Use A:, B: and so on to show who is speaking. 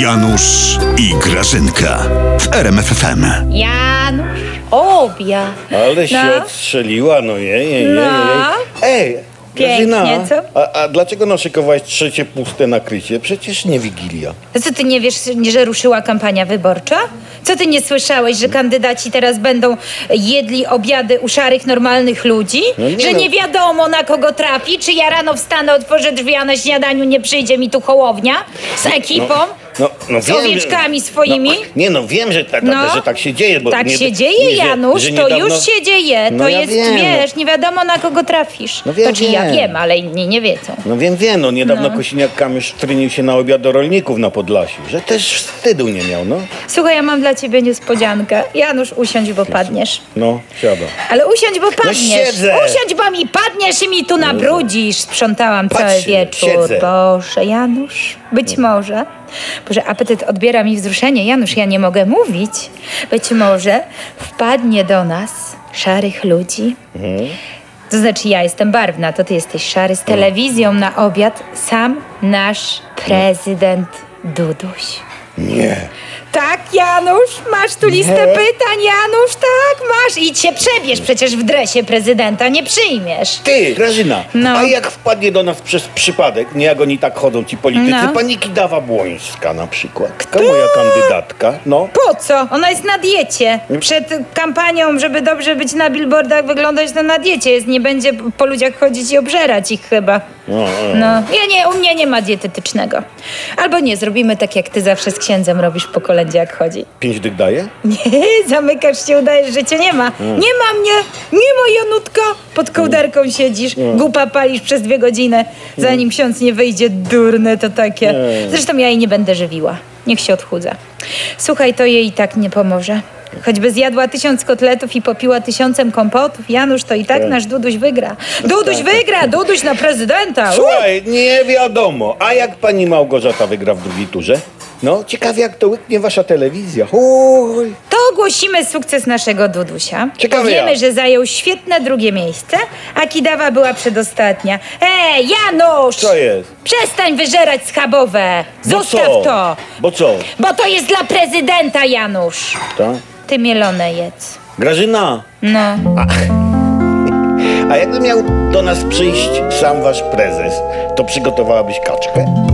A: Janusz i Grażynka w RMFFM.
B: Janusz, obja.
C: Ale się
B: No.
C: odstrzeliła, no jej, jej, jej.
B: No.
C: Ej,
B: Pięknie,
C: Grażyna,
B: co?
C: a, a dlaczego naszykowałaś trzecie puste nakrycie? Przecież nie Wigilia.
B: To co ty nie wiesz, że ruszyła kampania wyborcza? Co ty nie słyszałeś, że kandydaci teraz będą jedli obiady u szarych, normalnych ludzi?
C: No nie
B: że
C: no.
B: nie wiadomo na kogo trafi? Czy ja rano wstanę, otworzę drzwi, a na śniadaniu nie przyjdzie mi tu hołownia z ekipą?
C: No, no
B: Z
C: wiem, że-
B: owieczkami swoimi?
C: No, nie no, wiem, że, ta, ta,
B: No.
C: że tak się dzieje. Bo
B: tak
C: nie,
B: się dzieje,
C: nie, że-
B: Janusz,
C: że
B: to
C: niedawno-
B: już się dzieje.
C: No
B: to
C: ja
B: jest,
C: wiem, no.
B: wiesz, nie wiadomo na kogo trafisz.
C: No wiem,
B: to czy ja
C: wiem.
B: wiem, ale inni nie wiedzą.
C: No wiem, wiem, no niedawno Kosiniak-Kamysz trynił się na obiad do rolników na Podlasiu, że też wstydu nie miał, no.
B: Słuchaj, ja mam dla ciebie niespodziankę. Janusz, usiądź, bo padniesz.
C: No, siada.
B: Ale usiądź, bo padniesz.
C: siedzę.
B: usiądź, bo mi padniesz i mi tu nabrudzisz. Sprzątałam
C: Patrz,
B: cały wieczór.
C: siedzę.
B: Boże, Janusz, być może. Boże, apetyt odbiera mi wzruszenie. Janusz, ja nie mogę mówić. Być może wpadnie do nas szarych ludzi.
C: Mhm.
B: To znaczy, ja jestem barwna, to ty jesteś szary.
C: Tak.
B: Z telewizją na obiad sam nasz prezydent Duduś.
C: Nie.
B: Tak, Janusz, masz tu listę pytań, Janusz, tak, masz. Idź się przebierz, przecież w dresie prezydenta nie przyjmiesz.
C: Ty, Grażyna,
B: No.
C: a jak wpadnie do nas przez przypadek, nie jak oni tak chodzą, ci politycy,
B: No.
C: pani Kidawa Błońska na przykład, Kto? moja kandydatka, no.
B: Po co? Ona jest na diecie. Przed kampanią, żeby dobrze być na billboardach, wyglądać to na diecie jest. Nie będzie po ludziach chodzić i obżerać ich chyba.
C: No, e.
B: No, ja nie, u mnie nie ma dietetycznego. Albo nie, zrobimy tak, jak ty zawsze z księdzem robisz po kolędzie, jak chodzi.
C: Pięć dych daje?
B: Nie, zamykasz się, udajesz, że cię nie ma. Nie ma mnie, nie ma Janutka. Pod kołderką siedzisz, gupa palisz przez dwie godziny. Zanim ksiądz nie wyjdzie, durne to takie. Zresztą ja jej Mm. nie będę żywiła. Niech się odchudza. Słuchaj, to jej i tak nie pomoże. Choćby zjadła tysiąc kotletów i popiła tysiącem kompotów, Janusz, to i tak nasz Duduś wygra. Duduś wygra! Duduś na prezydenta! U!
C: Słuchaj, nie wiadomo, a jak pani Małgorzata wygra w drugiej turze? No, ciekawie jak to łyknie wasza telewizja. Uj.
B: To ogłosimy sukces naszego Dudusia.
C: Ciekawe
B: Powiemy,
C: jak.
B: że zajął świetne drugie miejsce, a Kidawa była przedostatnia. Ej, Janusz!
C: Co jest?
B: Przestań wyżerać schabowe! Zostaw
C: Bo co?
B: to!
C: Bo co?
B: Bo to jest dla prezydenta, Janusz!
C: Ta?
B: Ty mielone jedz.
C: Grażyna,
B: No.
C: a jakby miał do nas przyjść sam wasz prezes, to przygotowałabyś kaczkę?